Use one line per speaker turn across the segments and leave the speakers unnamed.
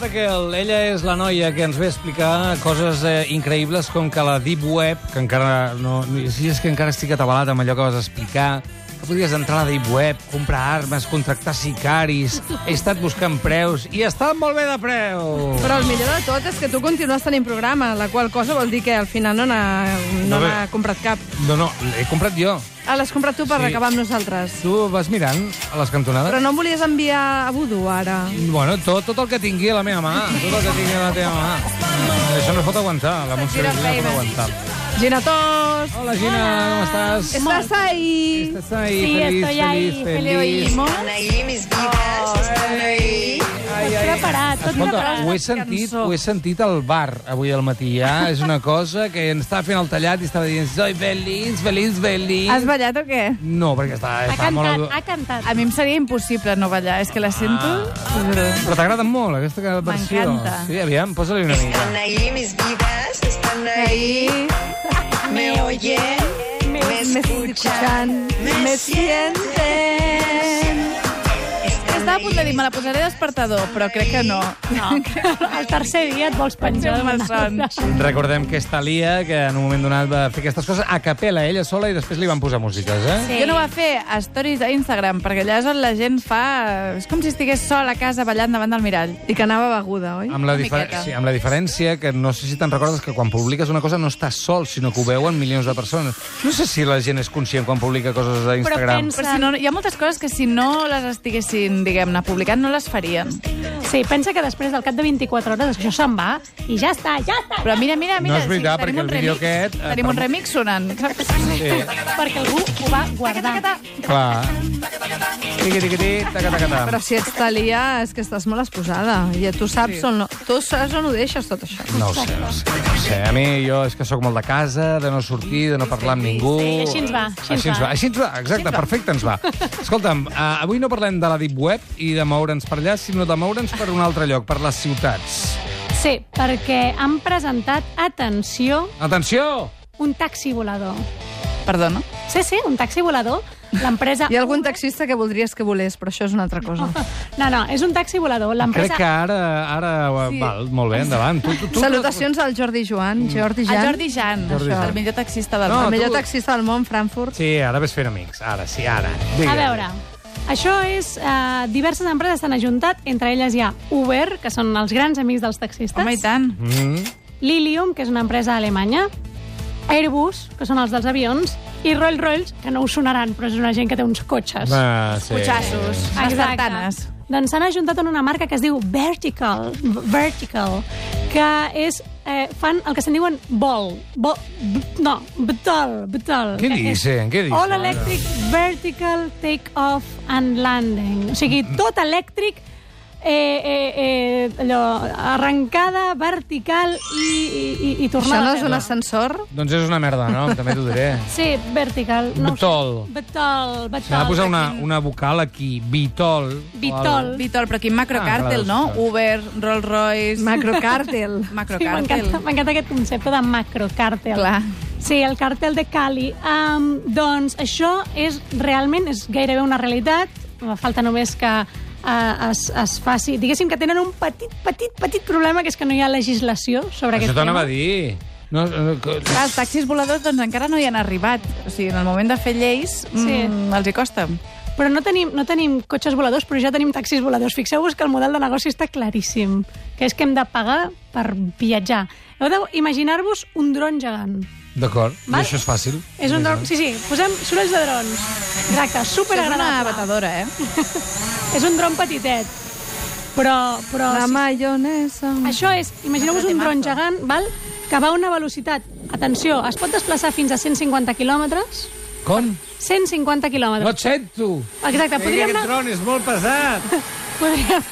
Raquel. Ella és la noia que ens ve a explicar coses eh, increïbles com que la Deep Web, que encara no... no- Si és que encara estic atabalat amb allò que vas explicar, que podries entrar a la Deep Web, comprar armes, contractar sicaris... He estat buscant preus i estan molt bé de preu!
Però el millor de tot és que tu continues tenint programa, la qual cosa vol dir que al final no n'ha no
No, bé.
n'ha comprat cap.
No, no, l'he comprat jo.
Ah, L'has comprat tu per
Sí.
acabar amb nosaltres.
Tu vas mirant a les cantonades?
Però no em volies enviar a Voodoo, ara.
Bueno, tot, tot el que tingui a la meva mà. Tot el que tingui a la teva mà. Això no es pot aguantar. La Montse Virgili no es pot aguantar.
Gina Tos,
Hola, Gina, com estàs?
estàs ahí?
Estás ahí,
Sí,
feliz,
estoy
feliz,
ahí,
feliz.
te oïmos.
Estan ahí, mis vidas, estan ahí.
Tot preparat, tot
Escolta,
preparat.
ho he, sentit,
cançó.
ho he sentit al bar avui al matí, ja. És una cosa que ens estava fent el tallat i estava dient soy feliz, feliz, feliz.
Has ballat o què?
No, perquè estava,
Ha
estava
cantat,
molt...
ha cantat.
A mi em seria impossible no ballar, és que la sento...
Ah.
Ah.
Però t'agrada molt, aquesta versió.
M'encanta.
Sí, aviam, posa-li una mica.
Estan ahí, mis vidas, estan ahí. Me oyen, me escuchan, me sienten.
Estava a punt de dir, me la posaré despertador, però crec que no.
No. El tercer dia et vols penjar de
malsons.
Recordem que és Thalia, que en un moment donat va fer aquestes coses a capella, ella sola, i després li van posar músiques, eh?
Jo no va fer a stories d'Instagram, perquè allà és on la gent fa... És com si estigués sola a casa ballant davant del mirall.
I que anava beguda, oi?
Amb la,
Una
difer
miqueta.
sí, amb la diferència que no sé si te'n recordes que quan publiques una cosa no estàs sol, sinó que ho veuen milions de persones. No sé si la gent és conscient quan publica coses a Instagram.
pensa-
Però si no, hi ha moltes coses que si no les estiguessin, diguem-ne, publicant, no les farien.
Sí, pensa que després del cap de 24 hores això se'n va i ja està, ja està.
Però mira, mira, mira...
No és veritat,
tenim
perquè
un
el vídeo
remix.
aquest, eh,
Tenim un
però-
remix sonant.
Sí,
Perquè algú ho va
Ah.
guardar.
clar. Tiqui, tiqui, tiqui, taca, taca,
Però
taca.
si ets talia és que estàs molt exposada. I tu saps sí. on... No, tu saps on ho deixes, tot això.
No ho sé, no ho sé. No ho sé. A mi jo és que sóc molt de casa, de no sortir, de no parlar amb ningú.
Sí, així ens va, així ens
Així ens va,
va.
així ens va, exacte, perfecte ens va. Escolta'm, eh, avui no parlem de la Deep Web i de moure'ns per allà, sinó de moure'ns per un altre lloc, per les ciutats.
Sí, perquè han presentat, atenció,
Atenció!
un taxi volador.
Perdona.
Sí, sí, un taxi volador. L'empresa...
Hi ha algun
Uber-
taxista que voldries que volés, però això és una altra cosa.
No, no, és un taxi volador.
Crec
L'empresa
que ara... ara sí. Val, molt bé, endavant. Tu, tu, tu,
Salutacions al Jordi Joan, Jordi
El
Jan,
Mm. Jordi Jan,
Jordi
això,
Jan.
el millor taxista del
No,
món.
el millor
tu-
taxista del món, Frankfurt.
Sí, ara ves fent amics. Ara, sí, ara.
A veure, això és... Eh, diverses empreses s'han ajuntat, entre elles hi ha Uber, que són els grans amics dels taxistes,
Home, i tant.
Mm.
Lilium, que és una empresa alemanya, Airbus, que són els dels avions, i Rolls-Royce, que no us sonaran, però és una gent que té uns cotxes.
Ah, sí.
Cotxassos, les tartanes.
Doncs s'han ajuntat en una marca que es diu Vertical, V- Vertical que és, eh, fan el que se'n diuen vol, vol b, no, btol, btol.
Què
que és
dicen? Què dicen?
All Electric Vertical Take-Off and Landing. O sigui,
Mm.
tot elèctric, eh, eh, eh, allò, arrencada, vertical i, i, i, i
Això
tornada.
no
a
és
terra.
un ascensor?
Doncs és una merda, no? També t'ho diré.
Sí, vertical. No ho sé.
Btol.
Btol, btol.
S'ha de posar una, una vocal aquí. Bitol.
Bitol.
Vitor, però quin macrocàrtel,
Ah,
no?
clar, sí,
Uber, Rolls-Royce...
Macrocàrtel.
Sí,
Macrocàrtel.
M'encanta m'encanta aquest concepte de macrocàrtel.
Clar.
Sí, el càrtel de Cali. Um, doncs això és realment, és gairebé una realitat. Falta només que uh, es, es faci... Diguéssim que tenen un petit, petit, petit problema, que és que no hi ha legislació sobre
Això
aquest
t'anava
tema.
a dir. No, eh, no, que-
Clar, els taxis voladors doncs, encara no hi han arribat. O sigui, en el moment de fer lleis
Sí.
mm, els hi costa.
Però no tenim, no tenim cotxes voladors, però ja tenim taxis voladors. Fixeu-vos que el model de negoci està claríssim, que és que hem de pagar per viatjar. Heu d'imaginar-vos un dron gegant.
D'acord, I
Val.
això és fàcil.
És un dron... Sí, sí, posem sorolls de drons. Exacte,
Això és una
superagradable.
batedora, eh?
És un dron petitet. Però, però
La
sí,
maionesa.
això és, imagineu-vos un dron gegant, val? que va a una velocitat, atenció, es pot desplaçar fins a 150 quilòmetres,
Com?
150
No
quilòmetres.
et sento.
Exacte,
Ei,
podríem
Aquest
anar,
tron és molt pesat.
podríem,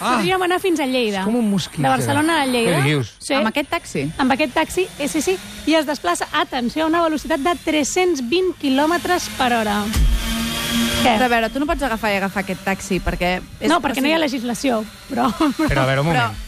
Ah.
podríem anar fins a Lleida.
És com un mosquit,
De Barcelona a
eh?
Lleida.
Què dius?
Sí.
Amb aquest taxi.
amb aquest taxi, eh, sí, sí, i es desplaça, atenció, a una velocitat de 320 quilòmetres per hora.
Eh.
Què?
A veure, tu no pots agafar i agafar aquest taxi, perquè...
No, perquè no hi ha legislació, però...
Però a veure, un
Però-
moment.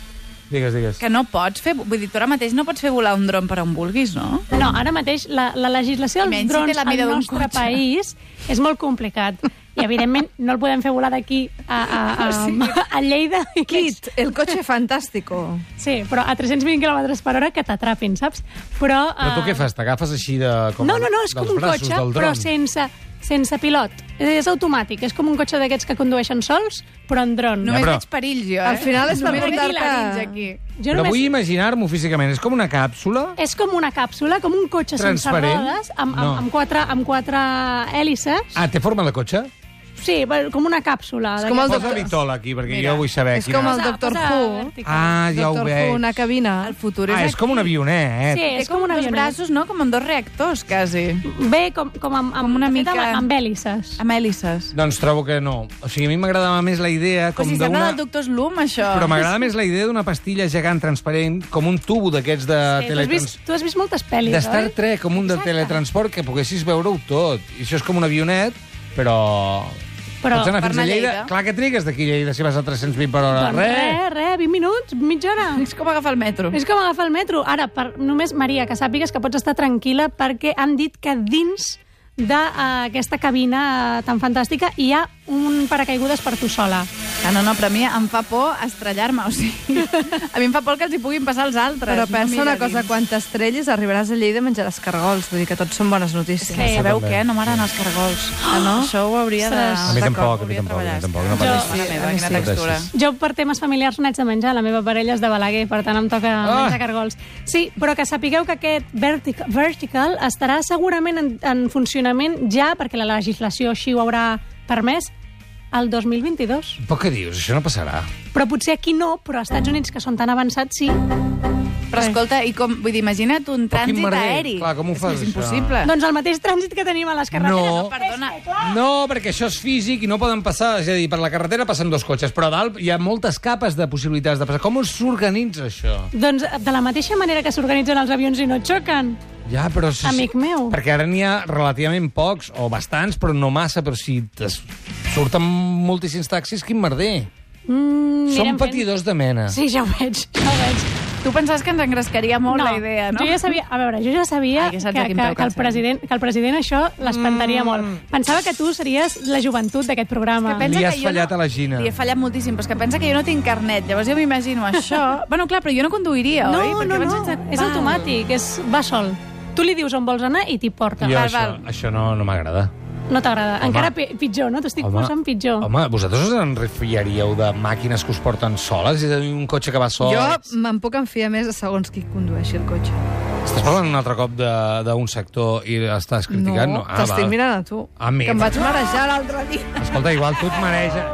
Digues, digues.
Que no pots fer... Vull dir, tu ara mateix no pots fer volar un dron per on vulguis, no?
No, ara mateix la, la legislació
I menys si
dels
té
drons
la mida
al
d'un
nostre
cotxe.
país és molt complicat. I i evidentment no el podem fer volar d'aquí a, a, a, a, a Lleida. i que ens-
Kit, el cotxe fantástico.
Sí, però a 320 km per hora que t'atrapin, saps? Però,
Però tu
eh,
què fas? T'agafes així de... Com
No, no, no, és
dels
com un
braços
cotxe,
del
però
dron?
sense, sense pilot. És automàtic, és com un cotxe d'aquests que condueixen sols, però en dron.
Només
però-
veig perills, jo, eh?
Al final és per
Només veig
portar-te-
hilarins, aquí.
Jo
Però
només... Eh,
vull imaginar-m'ho físicament. És com una càpsula?
És com una càpsula, com un cotxe sense
Transparent?
rodes, amb, amb,
No.
amb, quatre, amb quatre hèlices.
Ah, té forma de cotxe?
Sí, bé, com una càpsula.
com el
Posa
doctor-
Vitola aquí, perquè jo vull saber
és
quina...
com el Doctor Who.
Ah, ja ho
Doctor
veig.
Who, una cabina.
El futur és
Ah, és
aquí.
com eh? un avionet.
Sí, és com un
dos
avionet.
braços, no? Com amb dos reactors, quasi.
Bé, com, com, amb, amb,
Com una
de fet,
mica-
Amb, amb hèlices.
Amb hèlices.
Doncs trobo que no. O sigui, a mi m'agradava més la idea
Com
com
si sembla
d'una...
del doctor Slum, això.
Però m'agrada més la idea d'una pastilla gegant transparent, com un tubo d'aquests de
Sí, Eh, tu, has
teletrans...
vist, tu has vist moltes pel·lis,
De Star
oi?
Trek, com un de
Exacte.
teletransport, que poguessis veure-ho tot. I això és com un avionet, però...
Però
Pots anar
per
fins a
anar a
Lleida.
Lleida.
Clar que trigues d'aquí a Lleida si vas a 320 per hora.
Doncs res, res, 20 minuts, mitja hora.
És com agafar el metro.
És com agafar el metro. Ara, per, només, Maria, que sàpigues que pots estar tranquil·la perquè han dit que dins d'aquesta cabina eh, tan fantàstica hi ha un paracaigudes per tu sola.
Ah, no, no, però a mi em fa por estrellar-me, o sigui... A mi em fa por que els hi puguin passar als altres.
Però
no
pensa
a mi
una
de
cosa,
dins.
quan t'estrelles arribaràs a Lleida i menjaràs cargols. Vull dir que tots són bones notícies.
Sí.
Sabeu
també.
què? Eh, No m'agraden els cargols. Ah, no? Això ho hauria de...
Ostres.
A mi
D'acord,
tampoc, a mi
hauria de
tampoc, a mi tampoc,
treballar.
no
Jo,
pateixis.
mare meva,
Sí,
quina
sí.
textura.
Jo, per temes familiars, n'haig de menjar. La meva parella és de Balaguer, per tant, em toca
Ah!
menjar cargols. Sí, però que sapigueu que aquest vertic vertical estarà segurament en, en funcionament ja, perquè la legislació així ho haurà permès, el 2022.
Però què dius? Això no passarà.
Però potser aquí no, però als Estats Units, que són tan avançats, sí.
Ah.
Però escolta, i com, vull dir, imagina't un
Però quin
trànsit
merder.
aeri.
Clar, com ho fas,
És que
això?
és impossible.
Doncs el mateix trànsit que tenim a les
No.
carreteres.
Perdona.
No, perquè això és físic i no poden passar, és a dir, per la carretera passen dos cotxes, però a dalt hi ha moltes capes de possibilitats de passar. Com s'organitza això?
Doncs de la mateixa manera que s'organitzen els avions i no xoquen.
Ja, però... Si...
Amic meu.
Perquè ara n'hi ha relativament pocs, o bastants, però no massa, però si es... surten moltíssims taxis, quin merder.
Mm, anirem
Són
fent-
patidors de mena.
Sí, ja ho veig, ja ho veig.
Tu pensaves que ens engrescaria molt la idea, no?
Jo ja sabia, a veure, jo ja sabia
Ai,
que,
que
que,
saps a quin
que,
peu
el
calçarem.
president, que el president això
Mm.
l'espantaria molt. Pensava que tu series la joventut d'aquest programa.
penso- Li has
jo
fallat a la Gina.
Li he fallat moltíssim, però és que pensa que jo no tinc carnet. Llavors jo m'imagino això... bueno, clar, però jo no conduiria,
No,
oi?
no,
Perquè
no,
abans
no,
ets de-
és
Val.
automàtic, és, va sol. Tu li dius on vols anar i t'hi porta.
Jo
Val,
això,
val.
això no, no m'agrada.
No t'agrada.
Home.
Encara pi- pitjor, no? T'estic posant pitjor.
home, vosaltres us en refiaríeu de màquines que us porten soles? És a dir, un cotxe que va sol?
Jo me'n puc enfiar més a segons qui condueixi el cotxe.
Estàs parlant un altre cop de- d'un sector i estàs criticant? Ah,
no, t'estic
val.
mirant a tu.
A mi.
Que em vaig marejar l'altre dia.
Escolta, igual tu et mareja...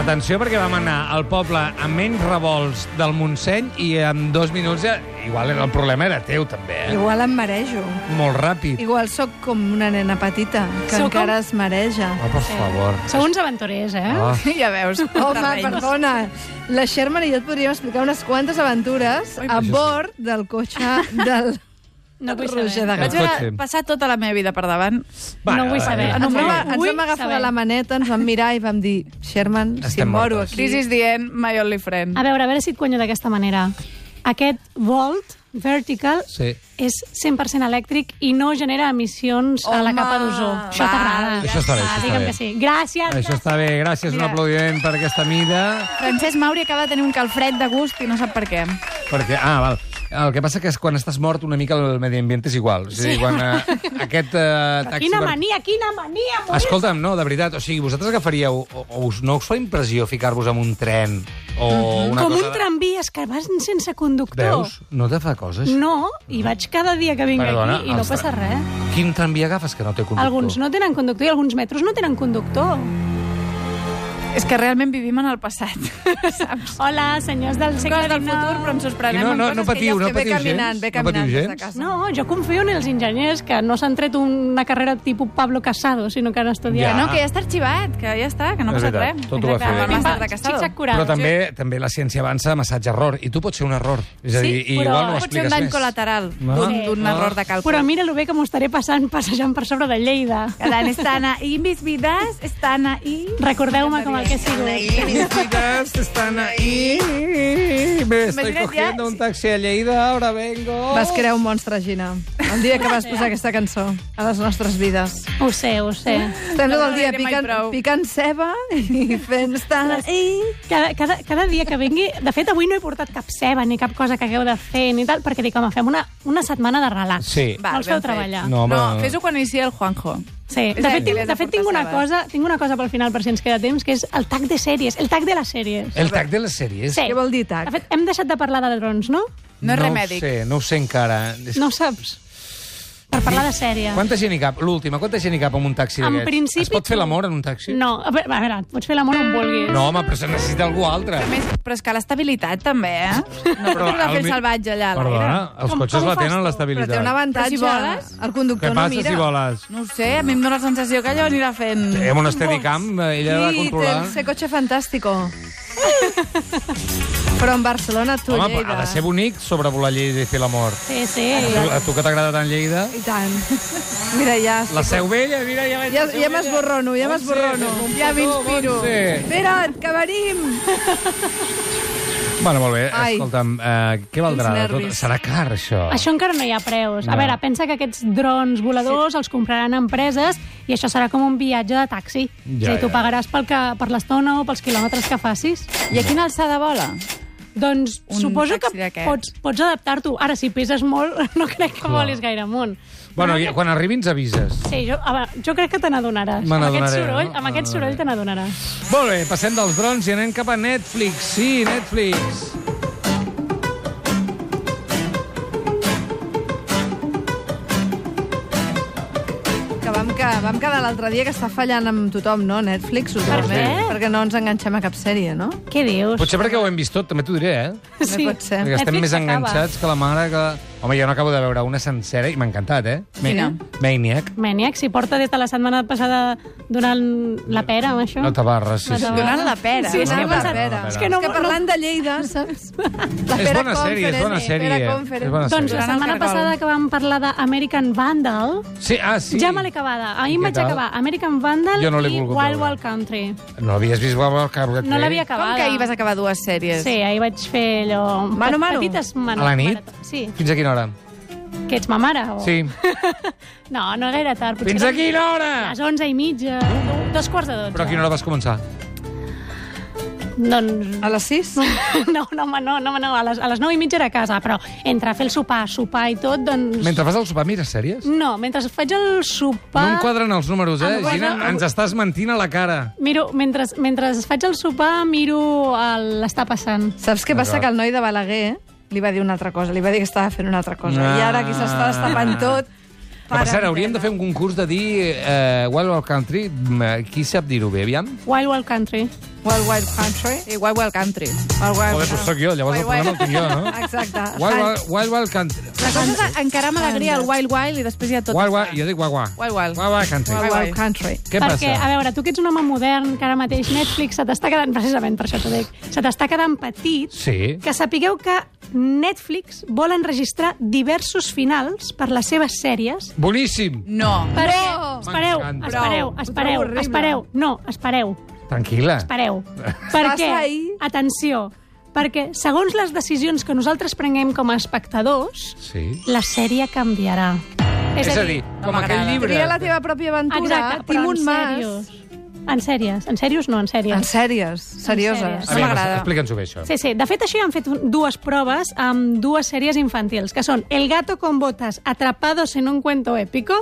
Atenció, perquè vam anar al poble amb menys revolts del Montseny i en dos minuts ja... Igual el problema era teu, també, eh?
Igual em marejo.
Molt ràpid.
Igual sóc com una nena petita, que
Sou com-
encara es mareja.
Oh, per favor.
Sou uns aventurers, eh?
Ah.
Sí, ja veus.
Home,
terrenys.
perdona. La Sherman i jo et podríem explicar unes quantes aventures
Ui,
a
això sí.
bord del cotxe del
No vull saber.
Roger de
Vaig
Gràcia.
cotxe.
veure passar tota la meva vida per davant.
No vull
eh,
saber. Ah,
Ens,
no,
vam,
no,
ens
vull
vam agafar
saber.
de la maneta, ens vam mirar i vam dir Sherman, si
Estem
em moro
mortes."
aquí...
This is the end, my only friend.
A veure, a veure si et guanyo d'aquesta manera. Aquest volt vertical
Sí.
és 100% elèctric i no genera emissions a la
Home,
capa d'ozó. Això
va,
t'agrada?
Això està bé,
Ah,
això està
digue'm
bé.
que sí. Gràcies.
Això està bé, gràcies, un aplaudiment per aquesta mida.
Francesc Mauri acaba de tenir un calfred de gust i no sap per què.
Perquè, ah, val. El que passa que és quan estàs mort una mica el medi ambient és igual. O sigui, sí. quan eh, aquest eh, taxi...
Quina
verd-
mania, quina mania! morir.
Escolta'm, no, de veritat, o sigui, vosaltres agafaríeu... O, o us, no us fa impressió ficar-vos en un tren o una
Com
cosa...
un
de-
tramvies que vas sense conductor.
Veus? No te fa coses?
No, i vaig cada dia que vinc
Perdona,
aquí i no
els
passa
tra-
res.
Quin tramvia agafes que no té conductor?
Alguns no tenen conductor i alguns metros no tenen conductor.
És que realment vivim en el passat, saps?
Hola, senyors del segle
Coses del
XIX.
futur, però ens
I
sorprenem
no, no,
amb
no
coses
patiu,
que ja
no
sé
patiu
caminant,
gens.
ve
no
caminant
patiu
des de
gens.
casa.
No, jo confio en els enginyers que no s'han tret una carrera tipus Pablo Casado, sinó que han estudiat.
Que no, que ja està arxivat, que ja està, que no ha
Ah. És
passat
veritat,
res.
tot ho va
Exacte,
fer.
amb el màster de Casado.
Xic-xac
Però
curat.
també també la ciència avança massatge-error, i tu pots ser un error. És a
Sí,
dir, i
però
igual no ho
Pot ser un
expliques
dany
més.
col·lateral
No?
d'un d'un
No.
error de càlcul.
Però mira lo bé que m'ho estaré passant passejant per sobre de Lleida.
Cada estan ahí, mis vidas estan ahí.
Recordeu-me com a el que ha sigut.
Mis vidas están ahí. Me estoy
Imagina't ja,
cogiendo un taxi a Lleida, ahora vengo.
Vas crear un monstre, Gina, el dia que vas posar aquesta cançó a les nostres vides.
Ho sé, ho sé.
Estem
No
tot el dia
donaré mai
picant,
prou.
picant ceba i fent estar...
Cada, cada, cada dia que vingui... De fet, avui no he portat cap ceba ni cap cosa que hagueu de fer ni tal, perquè dic, home, fem una, una setmana de relax.
Sí.
Va,
no els feu
ben fet.
treballar.
No, home.
no, fes-ho quan inicia el Juanjo.
Sí, de
És
fet,
útil,
tinc,
és
de fet tinc, una
aportar cebes.
cosa, tinc una cosa pel final, per si ens queda temps, que és el tag de sèries, el tag de les sèries.
El tac de les sèries?
Eh.
Sí.
Què vol dir
De
tac?
fet, hem deixat de parlar de drons, no?
No és
ho
remèdic.
sé, no ho sé encara. És-
No ho saps? Per parlar de sèries.
Quanta gent hi cap? L'última, quanta gent hi cap en un taxi
En
d'aquests?
principi,
Es pot fer
tu-
l'amor en un taxi?
No, a veure, a veure, pots fer l'amor on vulguis.
No, home, però se necessita algú altre.
A més, però és que l'estabilitat també, eh? No
Però
pots posar
al
fent
mi-
salvatge allà a l'aire.
Perdona, els
Com-
cotxes
com
la
fas
tenen
tu?
Però té
l'estabilitat.
un avantatge.
Però si voles-
El conductor
Què
no
passa
mira. Mm.
si voles?
No ho sé, a mi em dóna la sensació que allò anirà fent...
Amb un Steadicam, eh, ella ha de
Sí,
controlar.
té ese coche fantástico. Però en Barcelona, tu,
Home,
Lleida.
ha de ser bonic sobrevolar Lleida i fer l'amor.
Sí, sí.
A tu que t'agrada tant Lleida...
I tant. Mira, ja...
La Seu Vella, mira, ja vaig...
Ja- ja m'esborrono, ja m'esborrono.
Ja m'inspiro.
Espera't, que venim!
Bueno, molt bé,
Ai.
escolta'm, eh, què valdrà
Quins
de tot?
nervis.
Serà car, això?
Això encara no hi ha preus.
Ah. No.
A veure, pensa que aquests drons voladors els compraran empreses i això serà com un viatge de taxi.
Ja,
és a dir, tu
ja.
pagaràs pel que, per l'estona o pels quilòmetres que facis.
I a quina alçada vola?
Doncs
Un
suposo
taxi
que
d'aquests.
pots, pots adaptar-t'ho. Ara, si peses molt, no crec que volis gaire amunt.
Bueno, i quan arribi ens avises.
Sí, jo, a veure, jo crec que te n'adonaràs.
Me
Amb aquest
n'adonaré,
soroll,
no?
amb aquest
Me
soroll
n'adonaré.
te n'adonaràs.
Molt bé, passem dels drons i anem cap a Netflix. Sí, Netflix.
Que vam, que vam quedar l'altre dia que està fallant amb tothom, no? Netflix, totalment.
què?
Perquè no ens enganxem a cap sèrie, no?
Què dius?
Potser perquè ho hem vist tot, també t'ho diré, eh?
No pot ser.
Perquè estem
Netflix
més
acaba.
enganxats que la mare que... Home, jo no acabo de veure una sencera i m'ha encantat, eh?
Quina?
Maniac.
Maniac, si porta des de la setmana passada donant la pera amb això.
No t'abarres, sí,
No
sí.
t'abarres.
Donant la pera.
Sí,
és que he pensat-
És
és
que,
que
no-
no, que parlant de Lleida, saps? La
És bona sèrie, és bona sèrie.
Pera
És bona
conference.
Doncs la
Durant el
setmana
cargol.
passada que vam parlar d'American Vandal,
Sí, ah, sí.
ja me l'he acabada. Ahir
I què
vaig
tal?
acabar American Vandal
Jo no l'he
i
volgut
Wild
veure.
Wild Country.
No l'havies vist, Wild Wild Country?
No l'havia
Com
acabada.
que ahir vas acabar dues sèries?
Sí, ahir vaig fer allò...
Mano, mano.
Petites mano.
A la nit?
marató. Sí.
Fins a quina hora?
Que ets ma mare? O...
Sí.
No, no gaire tard. potser
Fins a
com
quina hora?
A les 11 i mitja, dos quarts de 12.
Però a quina hora vas començar?
Doncs...
A les 6?
No, no, home, no, no, home, no, a les, a les 9 i mitja era a casa, però entre fer el sopar, sopar i tot, doncs...
Mentre fas el sopar, mires sèries?
No, mentre faig el
No
sopar...
em quadren els números, eh?
Em quadra-
Gina, ens estàs mentint a la cara.
Miro, mentre, mentre faig el sopar, miro el- l'està passant.
Saps què passa?
D'acord.
Que el noi de Balaguer eh, li va dir una altra cosa, li va dir que estava fent una altra cosa.
Ah.
I ara aquí s'està destapant tot.
Però, per cert,
Pare,
hauríem de fer un concurs de dir eh, Wild Wild Country, mm, qui sap dir-ho bé, aviam?
Wild Wild Country.
Wild Wild Country.
Igual Wild Country.
Wild Wild
Joder, doncs sóc jo, llavors el problema el tinc jo, no?
Exacte.
Wild Wild, wild, wild Country.
La cosa és encarar amb alegria el Wild Wild i després ja tot...
Wild Wild, jo dic Wild Wild.
Wild Wild.
Wild Wild Country.
Wild
Wild
Wild Country.
Què
Perquè, a
passa?
veure, tu que ets un home modern, que ara mateix Netflix se t'està quedant, precisament per això t'ho dic, se t'està quedant petit,
Sí.
que sapigueu que Netflix vol enregistrar diversos finals per les seves sèries
Boníssim.
No.
perquè... Espereu,
M'encanta.
espereu,
Prou. Ho
espereu,
trobo
espereu. No, espereu,
Tranquil·la.
espereu. Perquè,
Passa ahir.
atenció, perquè segons les decisions que nosaltres prenguem com a espectadors,
Sí.
la sèrie canviarà.
És a dir,
no
com aquell
m'agrada.
llibre...
Tria la teva pròpia aventura.
Exacte, però
Timon
en
Mas.
sèries. En sèries. En sèries no, en sèries.
En sèries,
sèries.
serioses.
No
Aviam,
m'agrada.
explica'ns-ho bé, això.
Sí, sí. De fet, això ja han fet un- dues proves amb dues sèries infantils, que són El gato con botas, Atrapados en un cuento épico,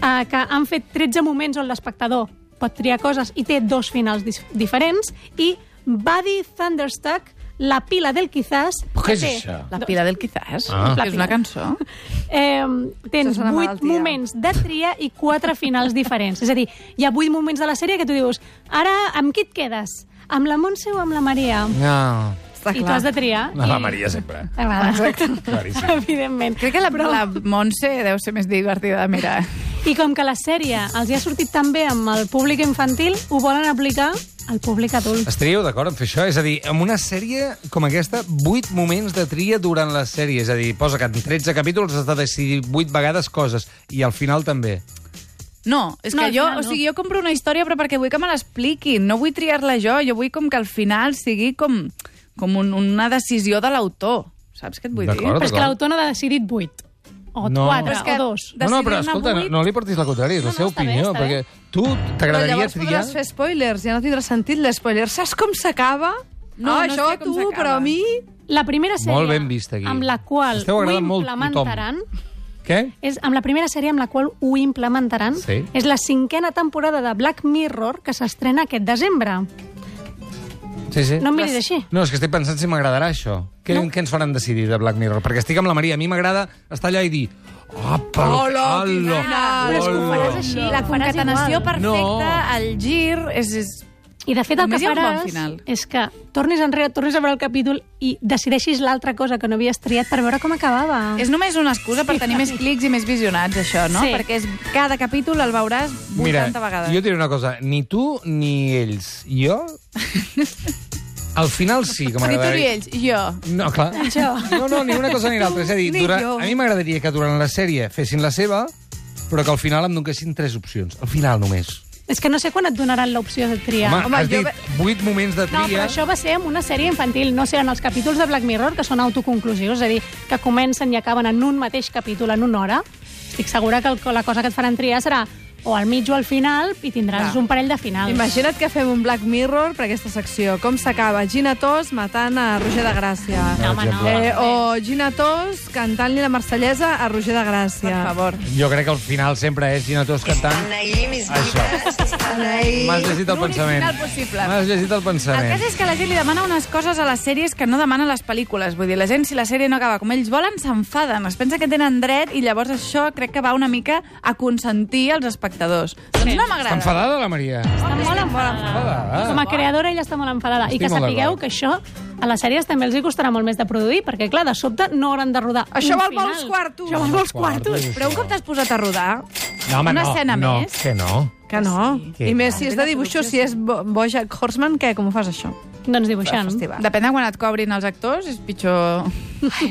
eh, que han fet 13 moments on l'espectador pot triar coses i té dos finals dis- diferents, i Buddy Thunderstruck, La pila del quizás...
Però què
que
és
té-
això?
La pila del quizás.
Ah.
Que És una cançó.
Eh, tens
Això és una
vuit
malaltia.
moments de tria i quatre finals diferents. És a dir, hi ha vuit moments de la sèrie que tu dius ara amb qui et quedes? Amb la Montse o amb la Maria?
No.
Està
I tu has
clar.
de triar.
No, la
i-
Maria sempre.
T'agrada.
Claríssim.
Evidentment.
Crec que la, la Montse deu ser més divertida de mirar.
I com que la sèrie els hi ha sortit també amb el públic infantil, ho volen aplicar al públic adult.
Estaríeu d'acord en fer això? És a dir, en una sèrie com aquesta, 8 moments de tria durant la sèrie. És a dir, posa que en 13 capítols has de decidir 8 vegades coses. I al final també.
No, és
No,
que
al
jo,
final
o
no.
sigui, jo compro una història però perquè vull que me l'expliquin, no vull triar-la jo, jo vull com que al final sigui com, com un, una decisió de l'autor, saps què et vull dir?
D'acord.
Però és que l'autor no ha decidit 8. O
No.
4,
Però és
que-
o 2.
No, no, però
Decidir-ne
escolta, no,
vuit.
no li portis la contrària, és la
No, no,
seva
està bé,
opinió,
està
perquè
bé.
tu
Però
t'agradaria
llavors
triar...
podràs fer spoilers, ja no tindrà sentit l'espoiler. Saps com s'acaba?
No, no
ah, això
sé
a
com
tu,
s'acaba.
però a mi...
La primera sèrie
Molt ben vist, aquí.
amb la qual
Esteu
ho
agradant molt tothom.
implementaran...
Què?
És amb la primera sèrie amb la qual ho implementaran.
Sí.
És la cinquena temporada de Black Mirror que s'estrena aquest desembre.
Sí, sí.
No em miris així.
No, és que estic pensant si m'agradarà això. Què, no. què ens faran decidir de Black Mirror? Perquè estic amb la Maria, a mi m'agrada estar allà i dir... "Ah, Apa,
Hola,
hola,
quina- Però
és que ho faràs així.
La
ho faràs
concatenació
igual.
perfecta,
No.
el gir, és, és...
I de fet el que
Només hi ha un bon
faràs
final.
és que tornis enrere, tornis a veure el capítol i decideixis l'altra cosa que no havies triat per veure com acabava.
És només una excusa per tenir més clics i més visionats, això, no?
Sí.
Perquè és, cada capítol el veuràs 80
Mira,
vegades.
jo et diré una cosa. Ni tu ni ells. Jo... Al final sí que
Ni tu ni
m'agradaria...
ells, jo.
No, clar.
Jo.
No, no, ni una cosa ni l'altra. És a dir,
Ni
durant...
jo.
a mi m'agradaria que durant la sèrie fessin la seva, però que al final em donessin tres opcions. Al final només.
És que no sé quan et donaran l'opció de triar.
Home,
Home,
has
jo
dit vuit moments de
No,
tria...
però això va ser amb una sèrie infantil, no seran els capítols de Black Mirror, que són autoconclusius, és a dir, que comencen i acaben en un mateix capítol, en una hora. Estic segura que el, la cosa que et faran triar serà o al mig o al final, i tindràs
Clar.
un parell de finals.
Imagina't que fem un Black Mirror per aquesta secció. Com s'acaba? Gina Tos matant a Roger de Gràcia.
No, home, no.
Eh, o Gina Tos cantant-li la Marsellesa a Roger de Gràcia.
Per favor.
Jo crec que al final sempre és Gina Tos cantant.
Están ahí mis
Això.
vidas, están ahí.
M'has llegit el
l'únic
pensament.
final possible.
M'has llegit el
El
pensament.
cas és que la gent li demana unes coses a les sèries que no demana a les pel·lícules. Vull dir, la gent, si la sèrie no acaba com ells volen, s'enfaden, es pensa que tenen dret i llavors això crec que va una mica a consentir els espectadors. Doncs no
Està
m'agrada.
enfadada, la Maria?
Està molt
Enfadada.
Com a creadora ella està molt enfadada.
Ah, Estic
I que
molt
sapigueu
d'acord.
que això a les sèries també els hi costarà molt més de produir, perquè, clar, de sobte no hauran de rodar
Això
un
val
final.
molts quartos.
Això val molts
Quartos.
quartos.
Però un cop t'has posat a rodar,
No, home,
una
no,
escena
no,
més.
Que no.
Que no.
Sí.
I més si és de dibuixos, si és bo, Bojack Horseman, què? Com ho fas, això?
Doncs dibuixant.
Festival.
depèn Mm. de quan et cobrin els actors, és pitjor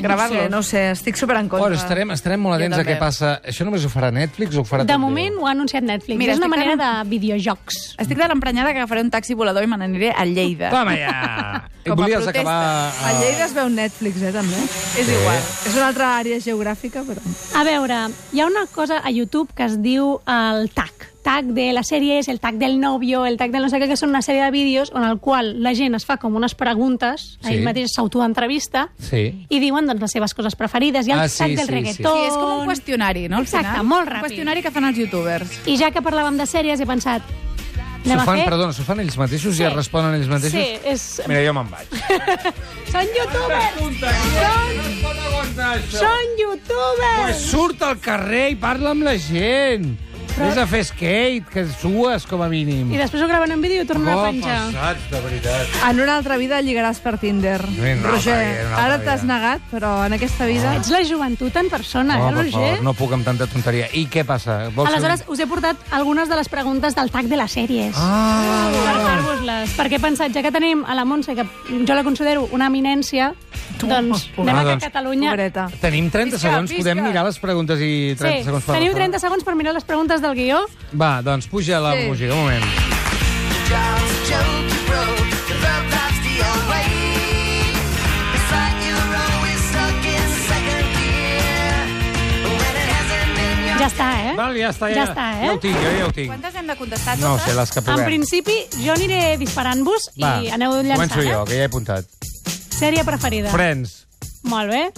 Gravar-lo?
gravar-lo.
No, sé, no sé, estic super en contra.
Bueno, estarem, estarem molt
Jo
atents a
també.
què passa. Això només ho farà Netflix o ho farà
De
tot
moment
Déu?
ho ha anunciat Netflix.
Mira,
és una
estic
manera
ara-
de videojocs.
Estic de l'emprenyada que agafaré un taxi volador i me n'aniré a Lleida.
Toma ja! I
Com a
Eh, volies
protesta.
acabar...
A Lleida es veu Netflix, eh, també.
És igual.
És una altra àrea geogràfica, però...
A veure, hi ha una cosa a YouTube que es diu el tag. Tag de les sèries, el tag del novio, el tag del no sé què, que són una sèrie de vídeos on el qual la gent es fa com unes preguntes,
Sí.
sí. ell mateix s'autoentrevista,
Sí.
i diuen doncs, les seves coses preferides. Hi ha el
Ah,
ah,
sí,
sí, tag del
sí, sí.
sí, reggaeton...
Sí, és com un qüestionari, no? Al
Exacte,
final?
molt ràpid.
Un qüestionari que fan els youtubers.
I ja que parlàvem de sèries, he pensat...
S'ho
Anem a
fan,
fer...
perdona, s'ho fan ells mateixos i
Sí.
es responen ells mateixos?
Sí, és...
Mira, jo me'n vaig.
Són youtubers! Són
Pues
youtubers!
surt al carrer i parla amb la gent. Vés a fer skate, que sues com a mínim.
I després ho graven en vídeo i ho tornen a penjar.
passats, de veritat.
En una altra vida lligaràs per Tinder.
Sí, no,
Roger,
perquè en una
ara
altra
t'has
vida.
negat, però en aquesta vida...
Ets la joventut en persona,
No,
eh,
per
Roger?
favor, no puc amb tanta tonteria. I què passa? Vols fer un-
Aleshores, us he portat algunes de les preguntes del tag de les sèries.
Ah,
Per fer-vos-les. Perquè he pensat, ja que tenim a la Montse, que jo la considero una eminència, doncs anem
Ah,
a que
doncs.
Catalunya...
Pobreta.
tenim 30
Visca,
segons,
visca.
podem mirar les preguntes i 30
Sí,
segons per
teniu 30 segons per mirar les preguntes del guió.
Va, doncs puja la
Sí.
música, un moment.
Jobs, joke, you broke, the love that's the old way. It's like you're always stuck in second gear when it hasn't been your
Ja està, eh?
Val, ja està, ja.
Ja està, eh?
Ja ho tinc, jo ja ho tinc.
Quantes hem de contestar
No ho
totes?
sé, les que
En
puguem.
principi, jo aniré disparant-vos i
Va,
aneu llançant.
Començo
eh?
jo, que ja he apuntat.
Sèrie preferida.
Friends.
Molt bé.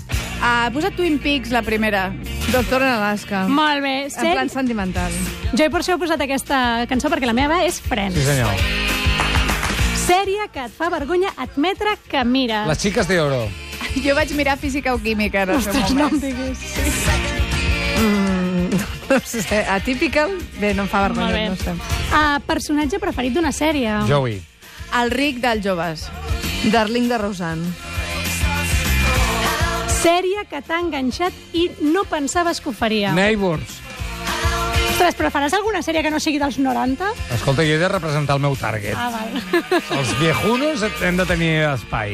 Ah, posa Twin Peaks, la primera.
Doctor en Alaska.
Molt bé.
En plan
Sèrie...
sentimental.
Jo per això he posat aquesta cançó perquè la meva és Friends.
Sí, senyor.
Sèrie que et fa vergonya admetre que mires.
Les xiques de oro.
Jo vaig mirar física o química en el seu
Ostres, no
moment.
em diguis.
No sé, atípical? Bé, no em fa
Molt
vergonya,
bé.
no sé.
Ah, personatge preferit d'una sèrie.
Joey.
El ric dels joves.
Darling de Rosanne.
Sèrie que t'ha enganxat i no pensaves que ho faria.
Neighbors.
Ostres, però faràs alguna sèrie que no sigui dels 90?
Escolta, jo he de representar el meu target.
Ah, val.
Els viejunos hem de tenir espai.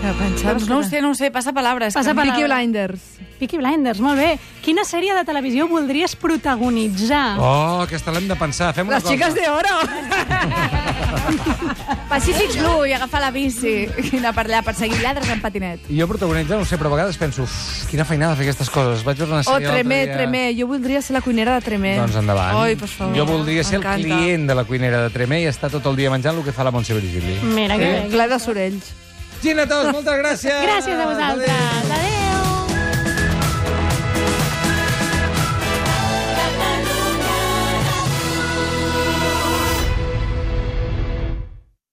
Que pensava
Doncs no ho
que
sé, no ho sé, passa palabres.
Passa
era-
palabres.
Peaky Blinders.
Peaky Blinders, molt bé. Quina sèrie de televisió voldries protagonitzar?
Oh, aquesta l'hem de pensar. Fem una
Les xiques de oro.
Pacific Blue i agafar la bici i anar per allà, perseguir lladres en patinet.
Jo protagonitzar, no ho sé, però a vegades penso, "Uf, quina feinada fer aquestes coses. Vaig veure una
O
sèrie l'altre
Oh, Tremé,
dia...
Tremé. Jo voldria ser la cuinera de Tremé.
Doncs endavant.
Eh? Ai, per favor.
Jo voldria ser el
M'encanta.
client de la cuinera de Tremé i estar tot el dia menjant el que fa la Montse
Mm.
Virgili.
Mira, que bé.
Ple de sorells.
Gina Tos, moltes gràcies!
Gràcies a vosaltres. Adéu.